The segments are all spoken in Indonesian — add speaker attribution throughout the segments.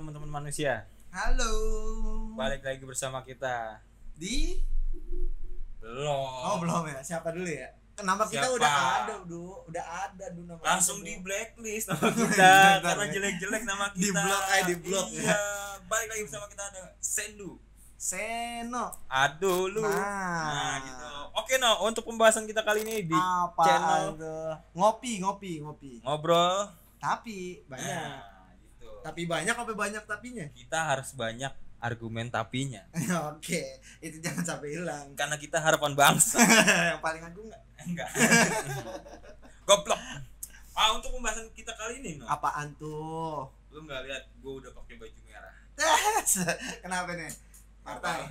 Speaker 1: manusia
Speaker 2: Halo.
Speaker 1: balik lagi bersama kita
Speaker 2: Di Oh,
Speaker 1: belum
Speaker 2: belum ya. Siapa dulu ya? Kenapa kita
Speaker 1: Siapa?
Speaker 2: udah ada, Du? Udah ada Du nama
Speaker 1: langsung di
Speaker 2: kita, Du.
Speaker 1: blacklist nama kita
Speaker 2: Iya, Bentar,
Speaker 1: karena
Speaker 2: ya.
Speaker 1: jelek-jelek nama kita
Speaker 2: Di blok aja, di blok, ya.
Speaker 1: iya balik lagi bersama kita ada Sendu
Speaker 2: Seno.
Speaker 1: aduh lu nah,
Speaker 2: Nah,
Speaker 1: gitu oke no untuk pembahasan kita kali ini di
Speaker 2: Apa
Speaker 1: channel.
Speaker 2: tuh? Ngopi, ngopi, ngopi.
Speaker 1: ngobrol
Speaker 2: Tapi banyak.
Speaker 1: Nah, gitu
Speaker 2: Tapi banyak apa banyak tapinya?
Speaker 1: kita harus banyak argumen tapinya
Speaker 2: Oke, itu jangan sampai hilang.
Speaker 1: karena kita harapan bangsa
Speaker 2: Yang paling aku enggak.
Speaker 1: enggak goblok ah untuk pembahasan kita kali ini no
Speaker 2: Apaan tuh?
Speaker 1: lu nggak lihat gue udah pakai baju merah
Speaker 2: Kenapa nih? Partai.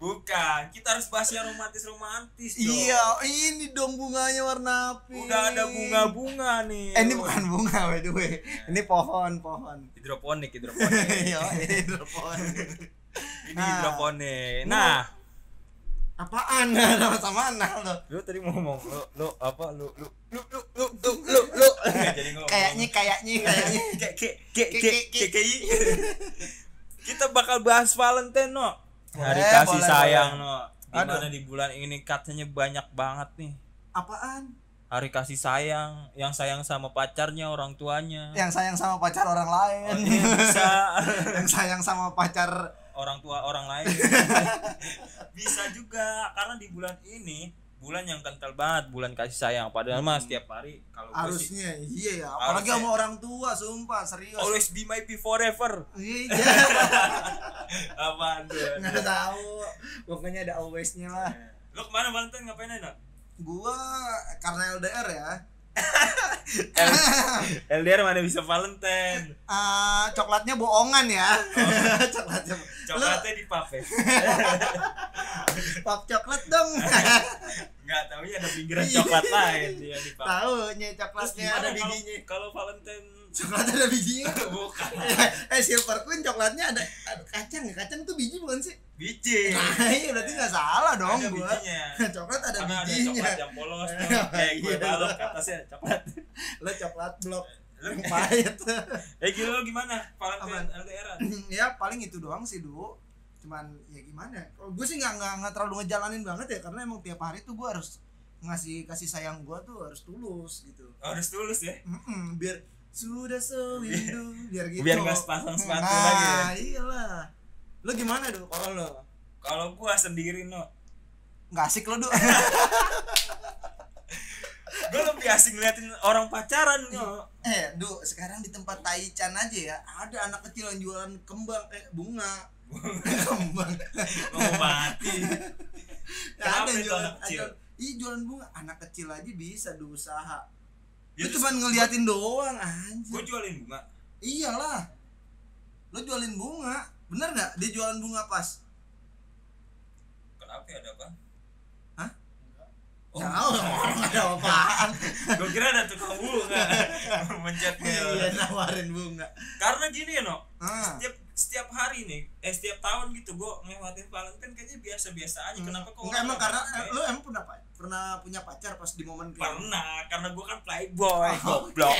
Speaker 1: bukan kita harus bahas yang romantis romantis
Speaker 2: Iya, ini dong bunganya warna pink.
Speaker 1: udah ada bunga bunga nih
Speaker 2: Eh, ini bukan bunga by the way. Ini pohon, pohon.
Speaker 1: hidroponik hidroponik
Speaker 2: Yo, ini pohon.
Speaker 1: ini
Speaker 2: Iya. Nah.
Speaker 1: hidroponik nah
Speaker 2: Apaan? Nama Nah, sama anak lo.
Speaker 1: lu tadi mau ngomong lu lu apa lu lu lu lu lu lu lu, lu. Nggak jadi ngomong
Speaker 2: Kayaknya kayaknya kayaknya.
Speaker 1: Kayak- kayak- kayak-
Speaker 2: Kayak-
Speaker 1: kayak-
Speaker 2: kayak-
Speaker 1: kayak- kayak- kita bakal bahas Valentine no hari
Speaker 2: Boleh,
Speaker 1: kasih
Speaker 2: boleh,
Speaker 1: sayang no dimana
Speaker 2: Aduh.
Speaker 1: di bulan ini katanya banyak banget nih
Speaker 2: Apaan?
Speaker 1: hari kasih sayang yang sayang sama pacarnya orang tuanya
Speaker 2: Yang sayang sama pacar orang lain.
Speaker 1: Orang tuanya bisa
Speaker 2: Yang sayang sama pacar
Speaker 1: orang tua orang lain bisa juga karena di bulan ini bulan yang kental banget bulan kasih sayang padahal
Speaker 2: Hmm.
Speaker 1: mah setiap hari kalau gue sih
Speaker 2: harusnya. Iya ya,
Speaker 1: Harusnya. Oh,
Speaker 2: apalagi sama orang tua, sumpah serius.
Speaker 1: always be my be forever
Speaker 2: Iya, iya.
Speaker 1: apaan tuh
Speaker 2: Nggak tahu. Pokoknya ada alwaysnya lah.
Speaker 1: lo kemana Valentine ngapain enak
Speaker 2: Gua karena LDR ya.
Speaker 1: LDR mana bisa Valentine
Speaker 2: Ah, coklatnya bohongan ya.
Speaker 1: Oh.
Speaker 2: coklatnya. bo-
Speaker 1: coklatnya di pavé
Speaker 2: Pop coklat dong.
Speaker 1: nggak tahu ya ada pinggiran coklat lain dia di pavé
Speaker 2: Tahu nye
Speaker 1: terus
Speaker 2: coklatnya
Speaker 1: gimana
Speaker 2: Iya. ada
Speaker 1: kalau
Speaker 2: bijinya.
Speaker 1: kalau Valentine
Speaker 2: Coklatnya ada bijinya.
Speaker 1: bukan
Speaker 2: eh silver queen coklatnya ada, ada kacang ya kacang tuh biji bukan sih
Speaker 1: biji
Speaker 2: nah iya berarti nggak salah dong
Speaker 1: ada
Speaker 2: gua
Speaker 1: bijinya
Speaker 2: coklat ada
Speaker 1: karena ada
Speaker 2: bijinya
Speaker 1: coklat ya. yang polos tuh. kayak gue
Speaker 2: Iya.
Speaker 1: balok ke atasnya coklat
Speaker 2: lo coklat blok
Speaker 1: Lu-
Speaker 2: pahit
Speaker 1: eh gila lu gimana Valentine
Speaker 2: Apaan?
Speaker 1: LDR -an?
Speaker 2: ya paling itu doang sih dulu cuman ya gimana kalau gue sih nggak nggak nggak terlalu ngejalanin banget ya karena emang tiap hari tuh gue harus ngasih kasih sayang gue tuh harus tulus gitu
Speaker 1: Oh, harus tulus ya
Speaker 2: Mm-mm, biar sudah sewindu biar gitu
Speaker 1: biar nggak sepasang sepatu
Speaker 2: nah,
Speaker 1: lagi ya.
Speaker 2: iyalah lo gimana dulu kalau lo
Speaker 1: kalau gua sendiri no
Speaker 2: nggak asik lo dulu
Speaker 1: gua lebih asing ngeliatin orang pacaran no
Speaker 2: Eh, Du, sekarang di tempat Taichan aja ya, ada anak kecil yang jualan kembang eh bunga. kembang.
Speaker 1: mau mati Kenapa
Speaker 2: yang
Speaker 1: itu anak kecil?
Speaker 2: ada- Ih, jualan bunga. Anak kecil aja bisa diusaha.
Speaker 1: Ya,
Speaker 2: Lu
Speaker 1: terus
Speaker 2: cuman ngeliatin doang anjir.
Speaker 1: gua jualin bunga
Speaker 2: Iyalah. Lu jualin bunga. Bener nggak? Dia jualan bunga pas.
Speaker 1: kenapa ya, ada apa
Speaker 2: Hah?
Speaker 1: Oh,
Speaker 2: Tahu orang ada apaan.
Speaker 1: gua kira ada tukang bunga mencetnya
Speaker 2: Iya, nawarin bunga.
Speaker 1: karena gini ya no
Speaker 2: Ah.
Speaker 1: setiap setiap hari nih eh setiap tahun gitu gue ngelewatin Valentine kayaknya biasa-biasa aja kenapa kok ya?
Speaker 2: Hmm. Enggak emang karena eh,
Speaker 1: lu
Speaker 2: lu emang pernah pa- pernah punya pacar pas di momen kayak
Speaker 1: pernah karena gue kan playboy goblok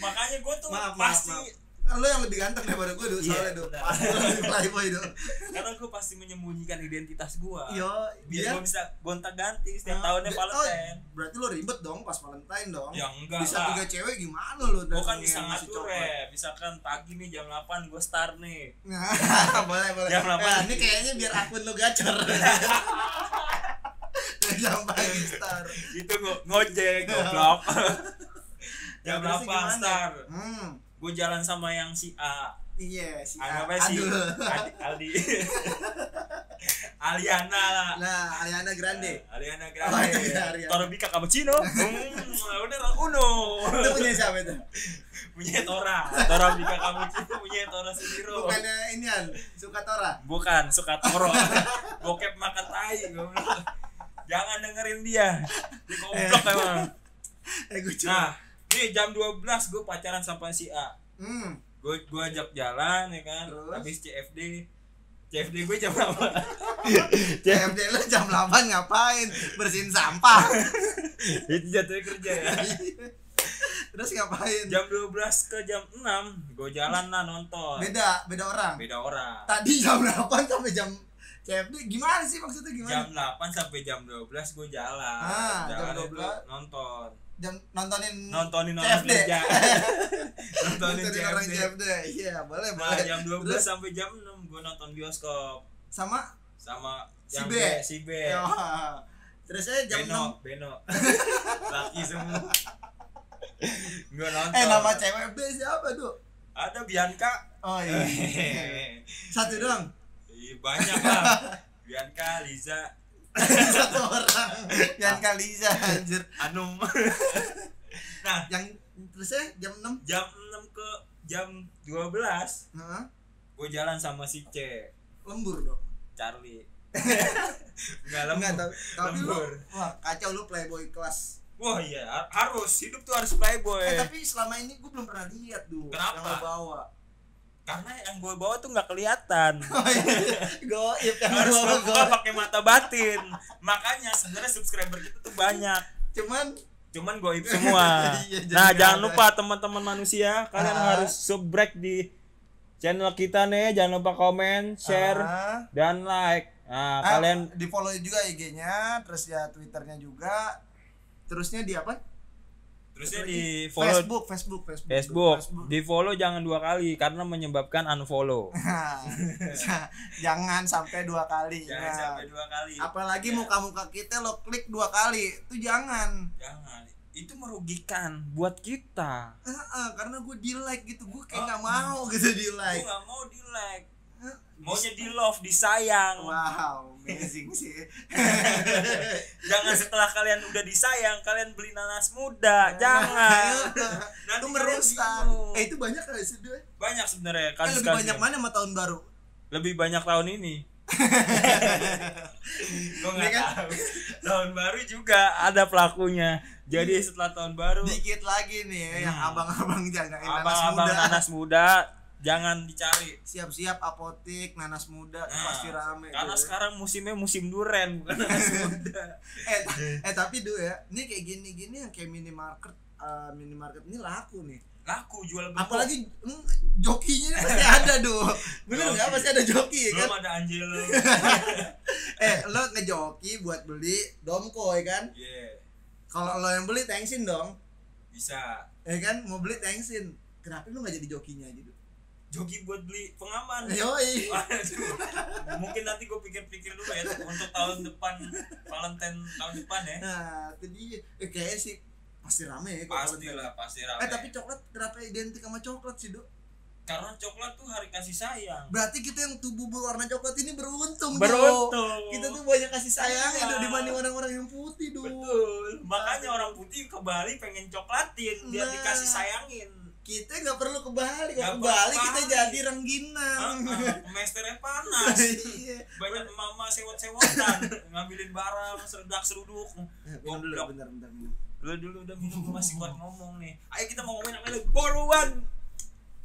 Speaker 1: makanya gue tuh
Speaker 2: Oh, Maaf, maaf,
Speaker 1: pasti
Speaker 2: maaf. Nah, lo yang lebih ganteng daripada gue dulu
Speaker 1: Iya,
Speaker 2: soalnya dulu
Speaker 1: benar.
Speaker 2: pasti lo lebih playboy dulu
Speaker 1: karena gue pasti menyembunyikan identitas gue
Speaker 2: yo
Speaker 1: biar
Speaker 2: dia
Speaker 1: gue bisa gonta-ganti setiap
Speaker 2: Nah,
Speaker 1: tahunnya
Speaker 2: Iya. bi-
Speaker 1: Valentine
Speaker 2: oh, berarti lo ribet dong pas Valentine dong
Speaker 1: ya enggak
Speaker 2: bisa
Speaker 1: lah
Speaker 2: tiga cewek gimana lo
Speaker 1: gue kan
Speaker 2: datangnya
Speaker 1: bisa
Speaker 2: ngasih
Speaker 1: ngatur
Speaker 2: coklat?
Speaker 1: ya misalkan pagi nih jam 8 gue start nih
Speaker 2: nah, boleh boleh
Speaker 1: Jam delapan.
Speaker 2: nah, ini kayaknya biar akun lo gacor jam pagi star
Speaker 1: itu ngo- ngojek goblok
Speaker 2: Ya,
Speaker 1: jam 8
Speaker 2: terus gimana?
Speaker 1: start
Speaker 2: hmm
Speaker 1: gue jalan sama yang si A
Speaker 2: iya si A-
Speaker 1: anggapnya si
Speaker 2: Adul.
Speaker 1: Adi, Aldi Aliana lah
Speaker 2: nah Ariana
Speaker 1: Eh,
Speaker 2: Grande
Speaker 1: Ariana
Speaker 2: Oh, iya,
Speaker 1: Grande
Speaker 2: Ariana.
Speaker 1: Torobika Cappuccino hmm, udah lah Uno
Speaker 2: itu punya siapa itu
Speaker 1: punya Tora Torobika Cappuccino punya Tora Sudiro
Speaker 2: bukannya inian suka Tora
Speaker 1: bukan suka Toro bokep makan tai gua bilang. jangan dengerin dia dia goblok emang
Speaker 2: eh gue cuma
Speaker 1: nah nih jam 12 gue pacaran sama si A
Speaker 2: hmm
Speaker 1: gue gue ajak jalan ya kan
Speaker 2: Terus?
Speaker 1: habis CFD CFD gue jam berapa
Speaker 2: CFD lu jam 8 ngapain? Bersihin sampah.
Speaker 1: itu jatuhnya kerja ya
Speaker 2: terus ngapain
Speaker 1: Iya. jam 12 ke jam 6 gue jalan lah nonton
Speaker 2: beda beda orang
Speaker 1: beda orang
Speaker 2: tadi jam 8 sampai jam CFD gimana sih maksudnya gimana
Speaker 1: jam 8 sampai jam 12 gue jalan
Speaker 2: Ah, jam
Speaker 1: jalan itu
Speaker 2: 12.
Speaker 1: nonton
Speaker 2: jam nontonin
Speaker 1: nontonin orang
Speaker 2: CFD.
Speaker 1: kerja nontonin
Speaker 2: nontonin orang
Speaker 1: CFD
Speaker 2: CFD iya boleh
Speaker 1: nah
Speaker 2: boleh
Speaker 1: jam 12
Speaker 2: Terus?
Speaker 1: sampai jam 6 gue nonton bioskop
Speaker 2: sama
Speaker 1: sama
Speaker 2: Si
Speaker 1: yang
Speaker 2: B.
Speaker 1: B- si B
Speaker 2: Wah. terus saya jam
Speaker 1: Iya. Beno Beno laki semua gue
Speaker 2: 6
Speaker 1: nonton
Speaker 2: eh nama CFD siapa tuh
Speaker 1: ada Bianca
Speaker 2: oh iya satu doang
Speaker 1: Ih, banyak lah Bianca Liza
Speaker 2: satu orang yang Kaliza anjir
Speaker 1: Anum nah
Speaker 2: yang terusnya jam 6
Speaker 1: jam 6 ke jam 12
Speaker 2: Heeh.
Speaker 1: gue jalan sama si C
Speaker 2: lembur dong
Speaker 1: Charlie nggak lembur
Speaker 2: Enggak, tapi, tapi lu
Speaker 1: Lembur.
Speaker 2: wah kacau lu playboy kelas
Speaker 1: wah iya har- harus hidup tuh harus playboy
Speaker 2: eh, tapi selama ini gue belum pernah lihat tuh
Speaker 1: Kenapa?
Speaker 2: yang lu bawa
Speaker 1: karena yang gue bawa tuh nggak kelihatan
Speaker 2: Oh, iya. goib yang lu
Speaker 1: harus
Speaker 2: bawa
Speaker 1: gue
Speaker 2: goib
Speaker 1: pakai mata batin makanya sebenarnya subscriber kita tuh banyak
Speaker 2: cuman
Speaker 1: cuman goib semua
Speaker 2: Iya, jadi
Speaker 1: nah
Speaker 2: nggak
Speaker 1: jangan
Speaker 2: ada.
Speaker 1: lupa teman-teman manusia kalian
Speaker 2: Ah.
Speaker 1: harus subrek di channel kita nih jangan lupa komen share
Speaker 2: Ah,
Speaker 1: dan like nah
Speaker 2: ah,
Speaker 1: kalian
Speaker 2: di follow juga IG-nya terus ya Twitternya juga terusnya di apa
Speaker 1: terusnya di follow
Speaker 2: Facebook Facebook Facebook
Speaker 1: Facebook, di follow jangan dua kali karena menyebabkan unfollow
Speaker 2: Nah, jangan sampai dua kali
Speaker 1: jangan
Speaker 2: Nah,
Speaker 1: sampai dua kali Ya.
Speaker 2: apalagi muka-muka kita lo klik dua kali itu jangan
Speaker 1: jangan itu merugikan buat kita
Speaker 2: Eh, eh, karena gue di like gitu gue
Speaker 1: Oh.
Speaker 2: kayak nggak mau gitu di
Speaker 1: gue
Speaker 2: like
Speaker 1: nggak mau di like maunya di love disayang
Speaker 2: wow amazing sih
Speaker 1: jangan setelah kalian udah disayang kalian beli nanas muda jangan
Speaker 2: Iya. itu
Speaker 1: nanti
Speaker 2: merusak
Speaker 1: kalian bingung.
Speaker 2: eh itu banyak kali sih dua
Speaker 1: banyak sebenarnya
Speaker 2: eh,
Speaker 1: kasus
Speaker 2: lebih banyak mana sama tahun baru
Speaker 1: lebih banyak tahun ini gue
Speaker 2: Iya
Speaker 1: nggak
Speaker 2: kan?
Speaker 1: tahu tahun baru juga ada pelakunya jadi
Speaker 2: Iya.
Speaker 1: setelah tahun baru
Speaker 2: dikit lagi nih ya, yang
Speaker 1: Hmm.
Speaker 2: abang-abang jagain nanas
Speaker 1: abang-abang
Speaker 2: muda
Speaker 1: nanas muda jangan dicari
Speaker 2: siap-siap apotik nanas muda
Speaker 1: Nah,
Speaker 2: pasti rame
Speaker 1: karena
Speaker 2: Dul.
Speaker 1: sekarang musimnya musim duren bukan nanas muda
Speaker 2: eh, ta- eh tapi dulu ya ini kayak gini-gini yang kayak minimarket eh, minimarket ini laku nih
Speaker 1: laku jual gembok
Speaker 2: apalagi mm, jokinya ini pasti ada duh bener nggak
Speaker 1: Joki.
Speaker 2: pasti ada joki kan
Speaker 1: belum ada Angelo
Speaker 2: eh lo ngejoki buat beli domkoi kan
Speaker 1: Iya,
Speaker 2: kalau lo yang beli thanksin dong
Speaker 1: bisa
Speaker 2: ya kan mau beli thanksin kenapa lo nggak jadi jokinya aja duh
Speaker 1: joki buat beli pengaman
Speaker 2: yoi
Speaker 1: Waduh. mungkin nanti gue pikir-pikir dulu ya untuk tahun depan Valentine tahun depan ya
Speaker 2: nah itu dia eh, kayaknya sih pasti rame ya kalau
Speaker 1: pasti lah pasti rame
Speaker 2: eh tapi coklat kenapa identik sama coklat sih dok
Speaker 1: karena coklat tuh hari kasih sayang
Speaker 2: berarti kita yang tubuh berwarna coklat ini beruntung Dok.
Speaker 1: beruntung
Speaker 2: Iya. kita tuh banyak kasih sayang ya
Speaker 1: Iya.
Speaker 2: Dok, dibanding orang-orang yang putih dok
Speaker 1: betul makanya orang putih ke Bali pengen coklatin biar
Speaker 2: Nah.
Speaker 1: dikasih sayangin
Speaker 2: kita nggak perlu ke Bali
Speaker 1: Nggak
Speaker 2: kalau ke
Speaker 1: perlu
Speaker 2: Bali
Speaker 1: ke
Speaker 2: kita
Speaker 1: Bali.
Speaker 2: jadi rengginang
Speaker 1: Heeh, Ah, Mesternya panas
Speaker 2: iya
Speaker 1: banyak mama sewot-sewotan ngambilin barang seredak seruduk
Speaker 2: minum dulu
Speaker 1: Goblok.
Speaker 2: bentar bentar minum
Speaker 1: lu dulu udah minum gua masih kuat ngomong nih ayo kita mau ngomongin apa lagi buruan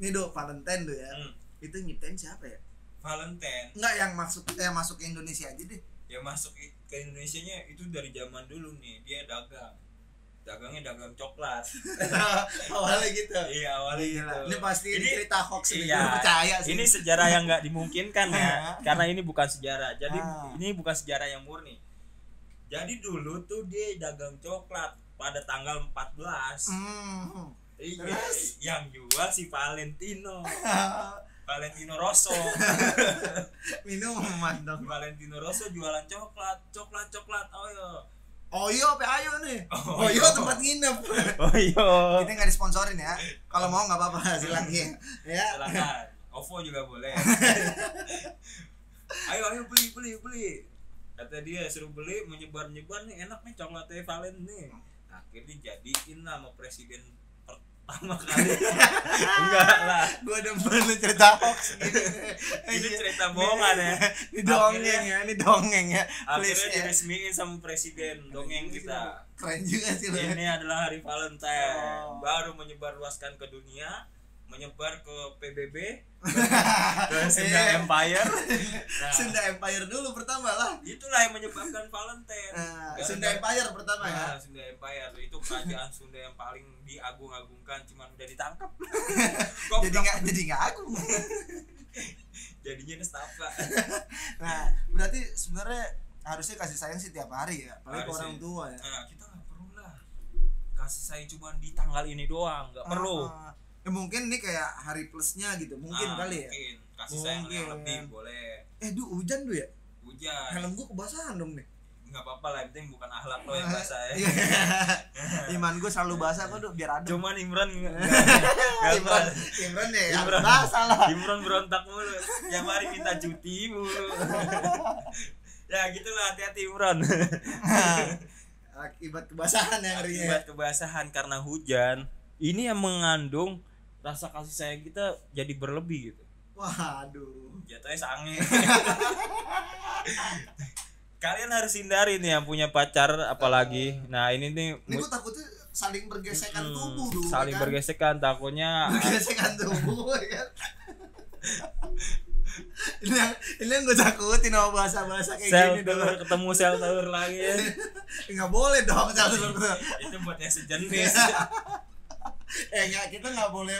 Speaker 2: nih dok Valentine dok ya
Speaker 1: Hmm,
Speaker 2: itu nyiptain siapa ya
Speaker 1: Valentine
Speaker 2: nggak yang masuk yang masuk ke Indonesia aja deh
Speaker 1: ya masuk i- ke Indonesia nya itu dari zaman dulu nih dia dagang dagangnya dagang coklat
Speaker 2: awalnya gitu
Speaker 1: iya awalnya
Speaker 2: Gila.
Speaker 1: gitu
Speaker 2: ini pasti
Speaker 1: Ini-
Speaker 2: cerita hoax nih,
Speaker 1: iya.
Speaker 2: gua percaya sih
Speaker 1: ini sejarah yang nggak dimungkinkan ya
Speaker 2: Ah.
Speaker 1: karena ini bukan sejarah jadi
Speaker 2: Ah.
Speaker 1: ini bukan sejarah yang murni jadi dulu tuh dia dagang coklat pada tanggal 14
Speaker 2: Hmm.
Speaker 1: iya
Speaker 2: Terus?
Speaker 1: yang jual si Valentino Valentino Rosso
Speaker 2: minuman dong
Speaker 1: Valentino Rosso jualan coklat coklat coklat oh yo
Speaker 2: Oyo apa ayo nih
Speaker 1: Oh,
Speaker 2: Oyo
Speaker 1: iya.
Speaker 2: tempat nginep
Speaker 1: oh yo
Speaker 2: kita nggak disponsorin ya kalau mau nggak apa-apa
Speaker 1: Hmm.
Speaker 2: silakan ya
Speaker 1: silakan OVO juga boleh ayo ayo beli beli beli kata dia suruh beli menyebar nyebar nih enak nih coklatnya Valen nih akhirnya jadiin lah sama presiden pertama kali enggak lah
Speaker 2: gua demen lu cerita hoax gini
Speaker 1: ini cerita bohongan ya
Speaker 2: ini dongeng ya ini dongeng ya
Speaker 1: akhirnya
Speaker 2: please ya Iya,
Speaker 1: diresmiin sama presiden dongeng kita Iya.
Speaker 2: keren juga sih lu ya.
Speaker 1: ini adalah hari Valentine
Speaker 2: Oh.
Speaker 1: baru menyebarluaskan ke dunia menyebar ke PBB ke Sunda Empire nah,
Speaker 2: Eh, Iya. Sunda Empire dulu pertama lah
Speaker 1: itulah yang menyebabkan Valentine
Speaker 2: Nah,
Speaker 1: Gara-gara-
Speaker 2: Sunda Empire pertama ya
Speaker 1: Nah, Sunda Empire itu kerajaan Sunda yang paling diagung-agungkan cuman udah ditangkap kok
Speaker 2: jadi nggak jadi nggak aku
Speaker 1: jadinya nestapa
Speaker 2: nah berarti sebenarnya harusnya kasih sayang sih tiap hari ya apalagi ke
Speaker 1: Harusnya.
Speaker 2: orang tua ya
Speaker 1: nah, kita nggak perlu lah kasih sayang cuman di tanggal ini doang nggak perlu
Speaker 2: Ah, ya mungkin ini kayak hari plusnya gitu mungkin
Speaker 1: Ah,
Speaker 2: kali ya
Speaker 1: mungkin kasih sayang yang
Speaker 2: Mungkin.
Speaker 1: lebih boleh
Speaker 2: eh du hujan du ya
Speaker 1: hujan
Speaker 2: helm gua kebasahan dong nih
Speaker 1: nggak apa-apa lah yang penting bukan ahlak lo yang basah ya Iya.
Speaker 2: Iya. iman gua selalu basah kok du biar adem Ah,
Speaker 1: cuman Imran nggak
Speaker 2: Iya. Imran
Speaker 1: nggak-
Speaker 2: Imran ya harus
Speaker 1: Imran.
Speaker 2: basah lah
Speaker 1: Imron berontak mulu Tiap hari minta cuti mulu Ya gitulah hati-hati Imron
Speaker 2: akibat kebasahan ya harinya
Speaker 1: Akibat kebasahan karena hujan Ini yang mengandung rasa kasih sayang kita jadi berlebih gitu
Speaker 2: waduh
Speaker 1: Jatuhnya sange Kalian harus hindari nih yang punya pacar apalagi Nah ini nih
Speaker 2: ini gua takutnya saling bergesekan
Speaker 1: Hmm,
Speaker 2: tubuh du
Speaker 1: saling
Speaker 2: ya kan?
Speaker 1: bergesekan takutnya
Speaker 2: bergesekan tubuh ya kan ini yang ini yang gue takutin sama bahasa bahasa kayak
Speaker 1: sel
Speaker 2: gini dulu Eh,
Speaker 1: telur ketemu sel telur lagi
Speaker 2: nggak boleh dong sel telur telur.
Speaker 1: itu buat yang sejenis
Speaker 2: eh nggak kita nggak boleh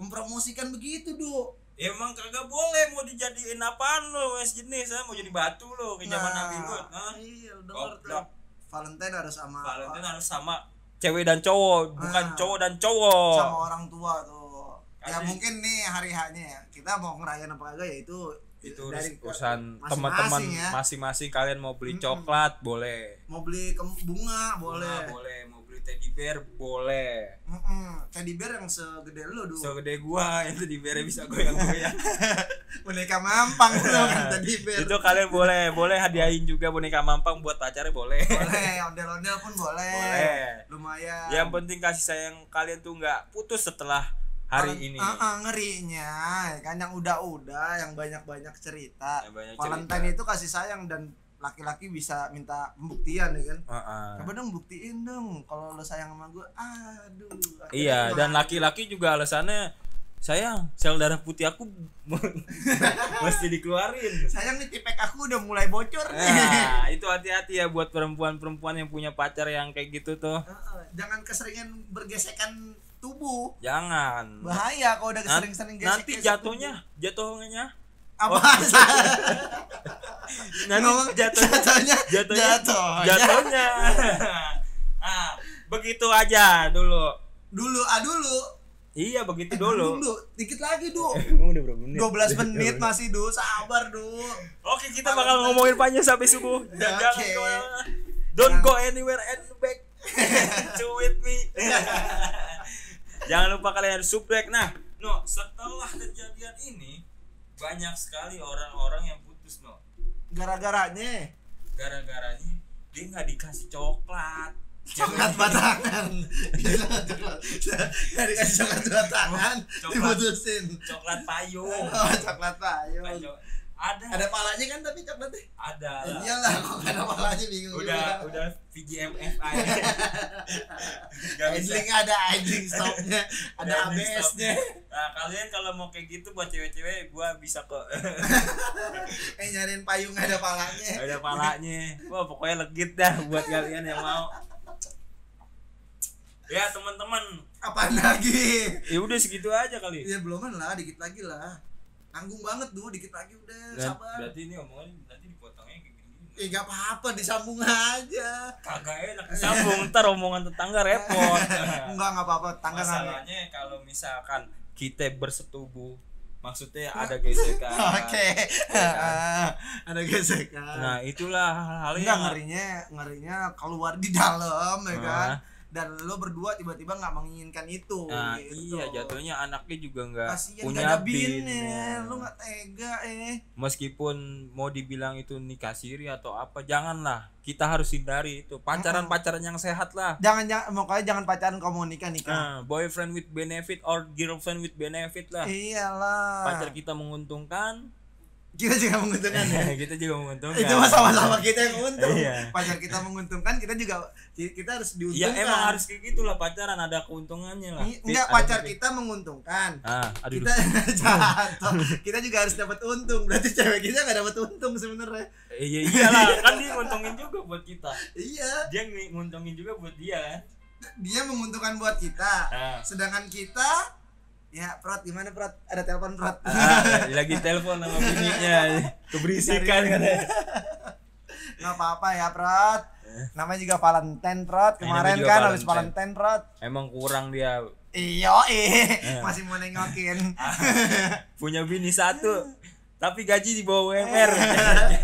Speaker 2: mempromosikan begitu do
Speaker 1: Ya, emang kagak boleh mau dijadiin apaan lo es jenis ah? mau jadi batu lo ke zaman
Speaker 2: Nah.
Speaker 1: Nabi Lut ah?
Speaker 2: iya lu denger tuh
Speaker 1: Goblok.
Speaker 2: Valentine harus sama
Speaker 1: Valentine harus sama cewek dan cowok bukan
Speaker 2: Ah.
Speaker 1: cowok dan cowok
Speaker 2: sama orang tua tuh ya
Speaker 1: Kasih.
Speaker 2: mungkin nih hari hanya ya kita mau ngerayain apa kagak ya itu
Speaker 1: itu
Speaker 2: dari
Speaker 1: urus- urusan
Speaker 2: masing-masing
Speaker 1: teman-teman
Speaker 2: ya.
Speaker 1: masing-masing kalian mau beli
Speaker 2: Mm-mm.
Speaker 1: coklat boleh
Speaker 2: mau beli ke bunga
Speaker 1: Bunga,
Speaker 2: boleh
Speaker 1: boleh mau beli teddy bear boleh
Speaker 2: Mm-mm. teddy bear yang segede lu do
Speaker 1: segede gua yang teddy bear bisa goyang-goyang
Speaker 2: boneka mampang tuh kan teddy bear
Speaker 1: itu kalian boleh boleh hadiahin juga boneka mampang buat pacarnya boleh
Speaker 2: boleh ondel-ondel pun boleh,
Speaker 1: boleh Ya,
Speaker 2: lumayan
Speaker 1: Yang penting kasih sayang kalian tuh nggak putus setelah hari ini.
Speaker 2: Ah, ah, ngerinya ya kan yang udah-udah yang banyak-banyak cerita
Speaker 1: Yang banyak
Speaker 2: Valentine itu kasih sayang dan laki-laki bisa minta pembuktian ya kan
Speaker 1: Heeh.
Speaker 2: coba dong buktiin dong kalau lo sayang sama gue aduh akhirnya
Speaker 1: Iya,
Speaker 2: gimana?
Speaker 1: dan laki-laki juga alasannya sayang sel darah putih aku mesti dikeluarin.
Speaker 2: sayang nih tipek aku udah mulai bocor nih
Speaker 1: Nah, itu hati-hati ya buat perempuan-perempuan yang punya pacar yang kayak gitu tuh.
Speaker 2: Ah, ah, jangan keseringan bergesekan tubuh
Speaker 1: Jangan.
Speaker 2: bahaya kalau udah
Speaker 1: Nan-
Speaker 2: sering-sering gesek
Speaker 1: nanti jatuhnya, Oh. jatuhnya
Speaker 2: apa
Speaker 1: nanti
Speaker 2: Ngomong
Speaker 1: jatuh
Speaker 2: jatuhnya
Speaker 1: jatuhnya
Speaker 2: jatuhnya.
Speaker 1: jatuhnya. ah, begitu aja dulu.
Speaker 2: dulu ah dulu
Speaker 1: Iya, begitu
Speaker 2: Eh,
Speaker 1: dulu. Eh,
Speaker 2: dulu dikit lagi du
Speaker 1: Emang udah berapa menit?
Speaker 2: 12 menit masih du sabar du
Speaker 1: Oke, kita bakal ngomongin panjang sampai subuh. Dan
Speaker 2: Oke.
Speaker 1: jangan kemana-mana. Don't go anywhere and back to with me. jangan lupa kalian harus subrek. Nah, no, setelah kejadian ini banyak sekali orang-orang yang putus, no.
Speaker 2: gara-garanya
Speaker 1: Gara-garanya dia nggak dikasih coklat.
Speaker 2: coklat batangan dari kasih coklat batangan
Speaker 1: Oh, Coklat.
Speaker 2: diputusin
Speaker 1: coklat payung.
Speaker 2: oh, coklat payung
Speaker 1: Payung. Ada
Speaker 2: ada palanya kan tapi coklatnya
Speaker 1: ada.
Speaker 2: ya, iyalah kok nggak ada palanya bingung
Speaker 1: Udah
Speaker 2: juga.
Speaker 1: udah VGMFI. Gak bisa.
Speaker 2: idling ada idling stopnya ada
Speaker 1: Dan di
Speaker 2: ABS nya
Speaker 1: stop. Nah, kalian kalau mau kayak gitu buat cewek-cewek gua bisa kok.
Speaker 2: eh nyariin payung nggak ada palanya
Speaker 1: Ada palanya. Wah, pokoknya legit dah buat kalian yang mau. Ya, teman-teman.
Speaker 2: apaan lagi
Speaker 1: Ya udah segitu aja kali.
Speaker 2: ya belum lah dikit lagi lah tanggung banget tuh dikit lagi udah
Speaker 1: Dan,
Speaker 2: sabar
Speaker 1: berarti ini omongan nanti dipotongnya kayak gini.
Speaker 2: ya gak apa-apa disambung aja
Speaker 1: Kagak enak sambung ntar omongan tetangga repot.
Speaker 2: enggak nggak apa-apa tanggal nggak ada.
Speaker 1: Masalahnya kalau misalkan kita bersetubuh, maksudnya ada gesekan.
Speaker 2: oke
Speaker 1: Ya kan?
Speaker 2: ada gesekan
Speaker 1: Nah, itulah hal-hal
Speaker 2: Enggak
Speaker 1: yang
Speaker 2: ngerinya ngerinya keluar di dalam ya kan
Speaker 1: Ah.
Speaker 2: dan lo berdua tiba-tiba nggak menginginkan itu
Speaker 1: Nah,
Speaker 2: gitu.
Speaker 1: iya jatuhnya anaknya juga nggak
Speaker 2: kasian
Speaker 1: punya
Speaker 2: gak ada
Speaker 1: bin,
Speaker 2: binnya
Speaker 1: ya.
Speaker 2: lo nggak tega eh
Speaker 1: Meskipun mau dibilang itu nikah siri atau apa, janganlah. Kita harus hindari itu. Pacaran-pacaran yang sehat lah.
Speaker 2: jangan jangan makanya jangan pacaran komunikasi nikah
Speaker 1: Nah, boyfriend with Nah.
Speaker 2: Iya.
Speaker 1: benefit or girlfriend with benefit lah.
Speaker 2: iyalah
Speaker 1: Pacar kita menguntungkan,
Speaker 2: kita juga menguntungkan ya
Speaker 3: kita juga menguntungkan
Speaker 2: itu mah sama-sama kita yang untung
Speaker 3: Iya.
Speaker 2: pacar kita menguntungkan kita juga kita harus
Speaker 3: ya
Speaker 2: diuntungkan
Speaker 3: emang harus kayak gitulah pacaran ada keuntungannya lah Iya,
Speaker 2: Ini- Iya, enggak
Speaker 3: Ada
Speaker 2: pacar
Speaker 3: titik.
Speaker 2: kita menguntungkan
Speaker 3: ah aduh
Speaker 2: kita jatuh kita juga harus dapat untung berarti cewek kita nggak dapat untung sebenarnya
Speaker 3: iya iyalah kan dia nguntungin juga buat kita
Speaker 2: iya
Speaker 3: dia ng- nguntungin juga buat dia kan
Speaker 2: dia menguntungkan buat kita
Speaker 3: ah,
Speaker 2: sedangkan kita ya prot gimana prot ada telepon prot
Speaker 3: ah, lagi telepon sama bininya keberisikan katanya
Speaker 2: nggak apa-apa ya prot namanya juga Valentine
Speaker 3: Iya.
Speaker 2: prot
Speaker 3: Ini namanya
Speaker 2: kemarin
Speaker 3: juga
Speaker 2: kan habis
Speaker 3: Valentine.
Speaker 2: Valentine prot
Speaker 3: emang kurang dia
Speaker 2: iyo
Speaker 3: Iya.
Speaker 2: eh masih mau nengokin
Speaker 3: Ah. punya bini satu tapi gaji di bawah UMR
Speaker 2: Eh.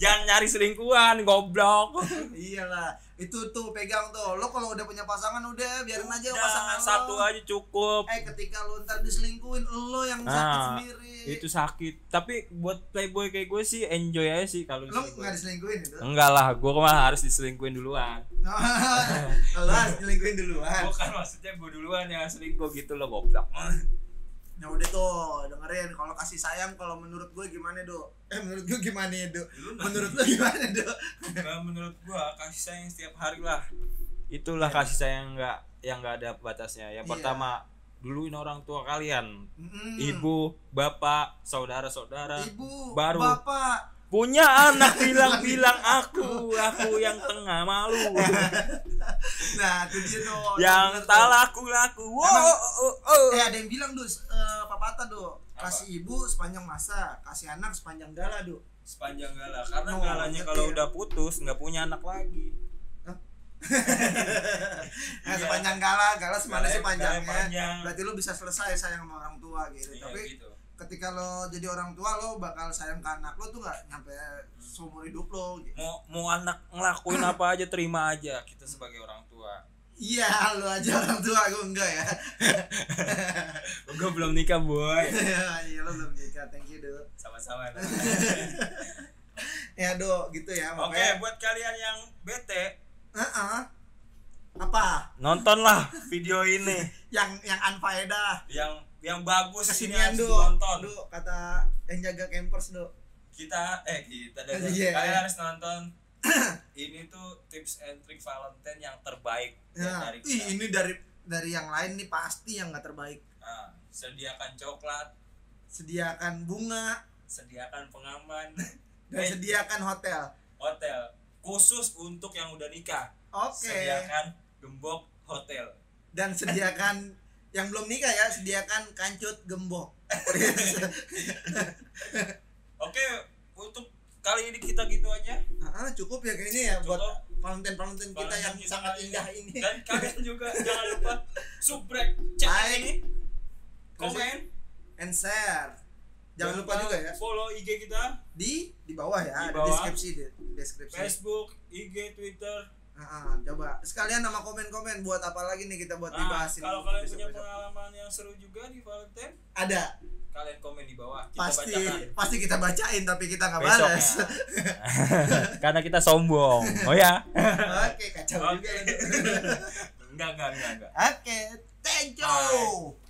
Speaker 3: jangan nyari selingkuhan goblok
Speaker 2: iyalah itu tuh pegang tuh lo kalau udah punya pasangan udah biarin aja
Speaker 3: Udah,
Speaker 2: pasangan
Speaker 3: Nah,
Speaker 2: lo.
Speaker 3: satu aja cukup
Speaker 2: eh ketika lo ntar diselingkuin lo yang sakit
Speaker 3: Ah,
Speaker 2: sendiri
Speaker 3: itu sakit tapi buat playboy kayak gue sih enjoy aja sih kalau
Speaker 2: lo
Speaker 3: diselingkuhin.
Speaker 2: nggak diselingkuin itu
Speaker 3: enggak lah gue malah harus diselingkuin duluan
Speaker 2: lo harus diselingkuin duluan
Speaker 3: bukan maksudnya gue duluan yang selingkuh gitu loh goblok
Speaker 2: nah udah tuh dengerin kalau kasih sayang kalau menurut gue gimana do eh menurut gue gimana do menurut lo gimana do eh,
Speaker 1: Nah, menurut gua kasih sayang setiap hari lah
Speaker 3: itulah kasih sayang nggak yang nggak ada batasnya yang
Speaker 2: Ya. Iya.
Speaker 3: pertama duluin orang tua kalian
Speaker 2: Mm,
Speaker 3: ibu bapak saudara saudara
Speaker 2: ibu
Speaker 3: baru.
Speaker 2: bapak
Speaker 3: punya anak bilang-bilang aku aku yang tengah malu
Speaker 2: nah itu dia tuh
Speaker 3: yang
Speaker 2: Bener tuh.
Speaker 3: tak laku laku wow
Speaker 2: Emang-
Speaker 3: oh, oh.
Speaker 2: eh ada yang bilang dus eh, papatah do kasih ibu sepanjang masa kasih anak sepanjang gala do
Speaker 1: sepanjang gala karena
Speaker 2: Oh,
Speaker 1: galanya
Speaker 2: ngerti
Speaker 1: kalau
Speaker 2: ya.
Speaker 1: udah putus nggak punya anak lagi
Speaker 2: Eh,
Speaker 1: Iya.
Speaker 2: sepanjang gala gala semana
Speaker 1: Galanya-
Speaker 2: sih panjangnya
Speaker 1: galanya panjang.
Speaker 2: berarti lu bisa selesai sayang sama orang tua gitu
Speaker 1: Iya,
Speaker 2: tapi
Speaker 1: gitu.
Speaker 2: ketika lo jadi orang tua lo bakal sayang ke anak lo tuh nggak nyampe seumur hidup lo gitu.
Speaker 1: mau mau anak ngelakuin apa aja terima aja kita sebagai orang tua
Speaker 2: iya lo aja orang tua gue enggak ya
Speaker 3: gue belum nikah boy
Speaker 2: iya lo belum nikah thank you do
Speaker 1: sama-sama Nah.
Speaker 2: ya do gitu ya
Speaker 1: oke
Speaker 2: makanya
Speaker 1: buat kalian yang bete
Speaker 2: Heeh. apa
Speaker 3: nontonlah video ini
Speaker 2: yang yang anfaedah
Speaker 1: yang yang bagus ini
Speaker 2: kesinian
Speaker 1: harus
Speaker 2: do
Speaker 1: nonton
Speaker 2: do kata yang jaga campers do
Speaker 1: kita eh kita dan
Speaker 2: Iya.
Speaker 1: kalian harus nonton ini tuh tips and trick Valentine yang terbaik ya,
Speaker 2: nah,
Speaker 1: dari
Speaker 2: ih,
Speaker 1: kita
Speaker 2: ini dari dari yang lain nih pasti yang nggak terbaik
Speaker 1: Nah, sediakan coklat
Speaker 2: sediakan bunga
Speaker 1: sediakan pengaman Eh,
Speaker 2: dan sediakan hotel
Speaker 1: hotel khusus untuk yang udah nikah
Speaker 2: oke
Speaker 1: sediakan gembok hotel
Speaker 2: dan sediakan yang belum nikah ya sediakan kancut gembok
Speaker 1: oke untuk kali ini kita gitu aja
Speaker 2: ah, cukup ya kayaknya ya buat
Speaker 1: Cukup.
Speaker 2: Valentine Valentine kita
Speaker 1: Valentine
Speaker 2: yang
Speaker 1: kita
Speaker 2: sangat
Speaker 1: kali ini.
Speaker 2: indah ini
Speaker 1: dan kalian juga jangan lupa subrek cek
Speaker 2: Like,
Speaker 1: ini komen uh,
Speaker 2: and share jangan lupa juga ya
Speaker 1: follow IG kita
Speaker 2: di di bawah ya
Speaker 1: Di
Speaker 2: ada
Speaker 1: bawah.
Speaker 2: deskripsi di, di deskripsi
Speaker 1: Facebook IG Twitter
Speaker 2: Ah, ah, coba sekalian nama komen komen buat apa lagi nih kita buat
Speaker 1: Nah,
Speaker 2: dibahas ini
Speaker 1: kalau kalian punya
Speaker 2: besok-besok.
Speaker 1: pengalaman yang seru juga di Valentine
Speaker 2: ada
Speaker 1: kalian komen di bawah kita
Speaker 2: pasti
Speaker 1: bacakan
Speaker 2: pasti kita bacain tapi kita nggak
Speaker 3: Besok
Speaker 2: balas
Speaker 3: ya. karena kita sombong oh ya
Speaker 2: oke kacau juga kan? ya.
Speaker 1: enggak enggak enggak enggak
Speaker 2: oke thank you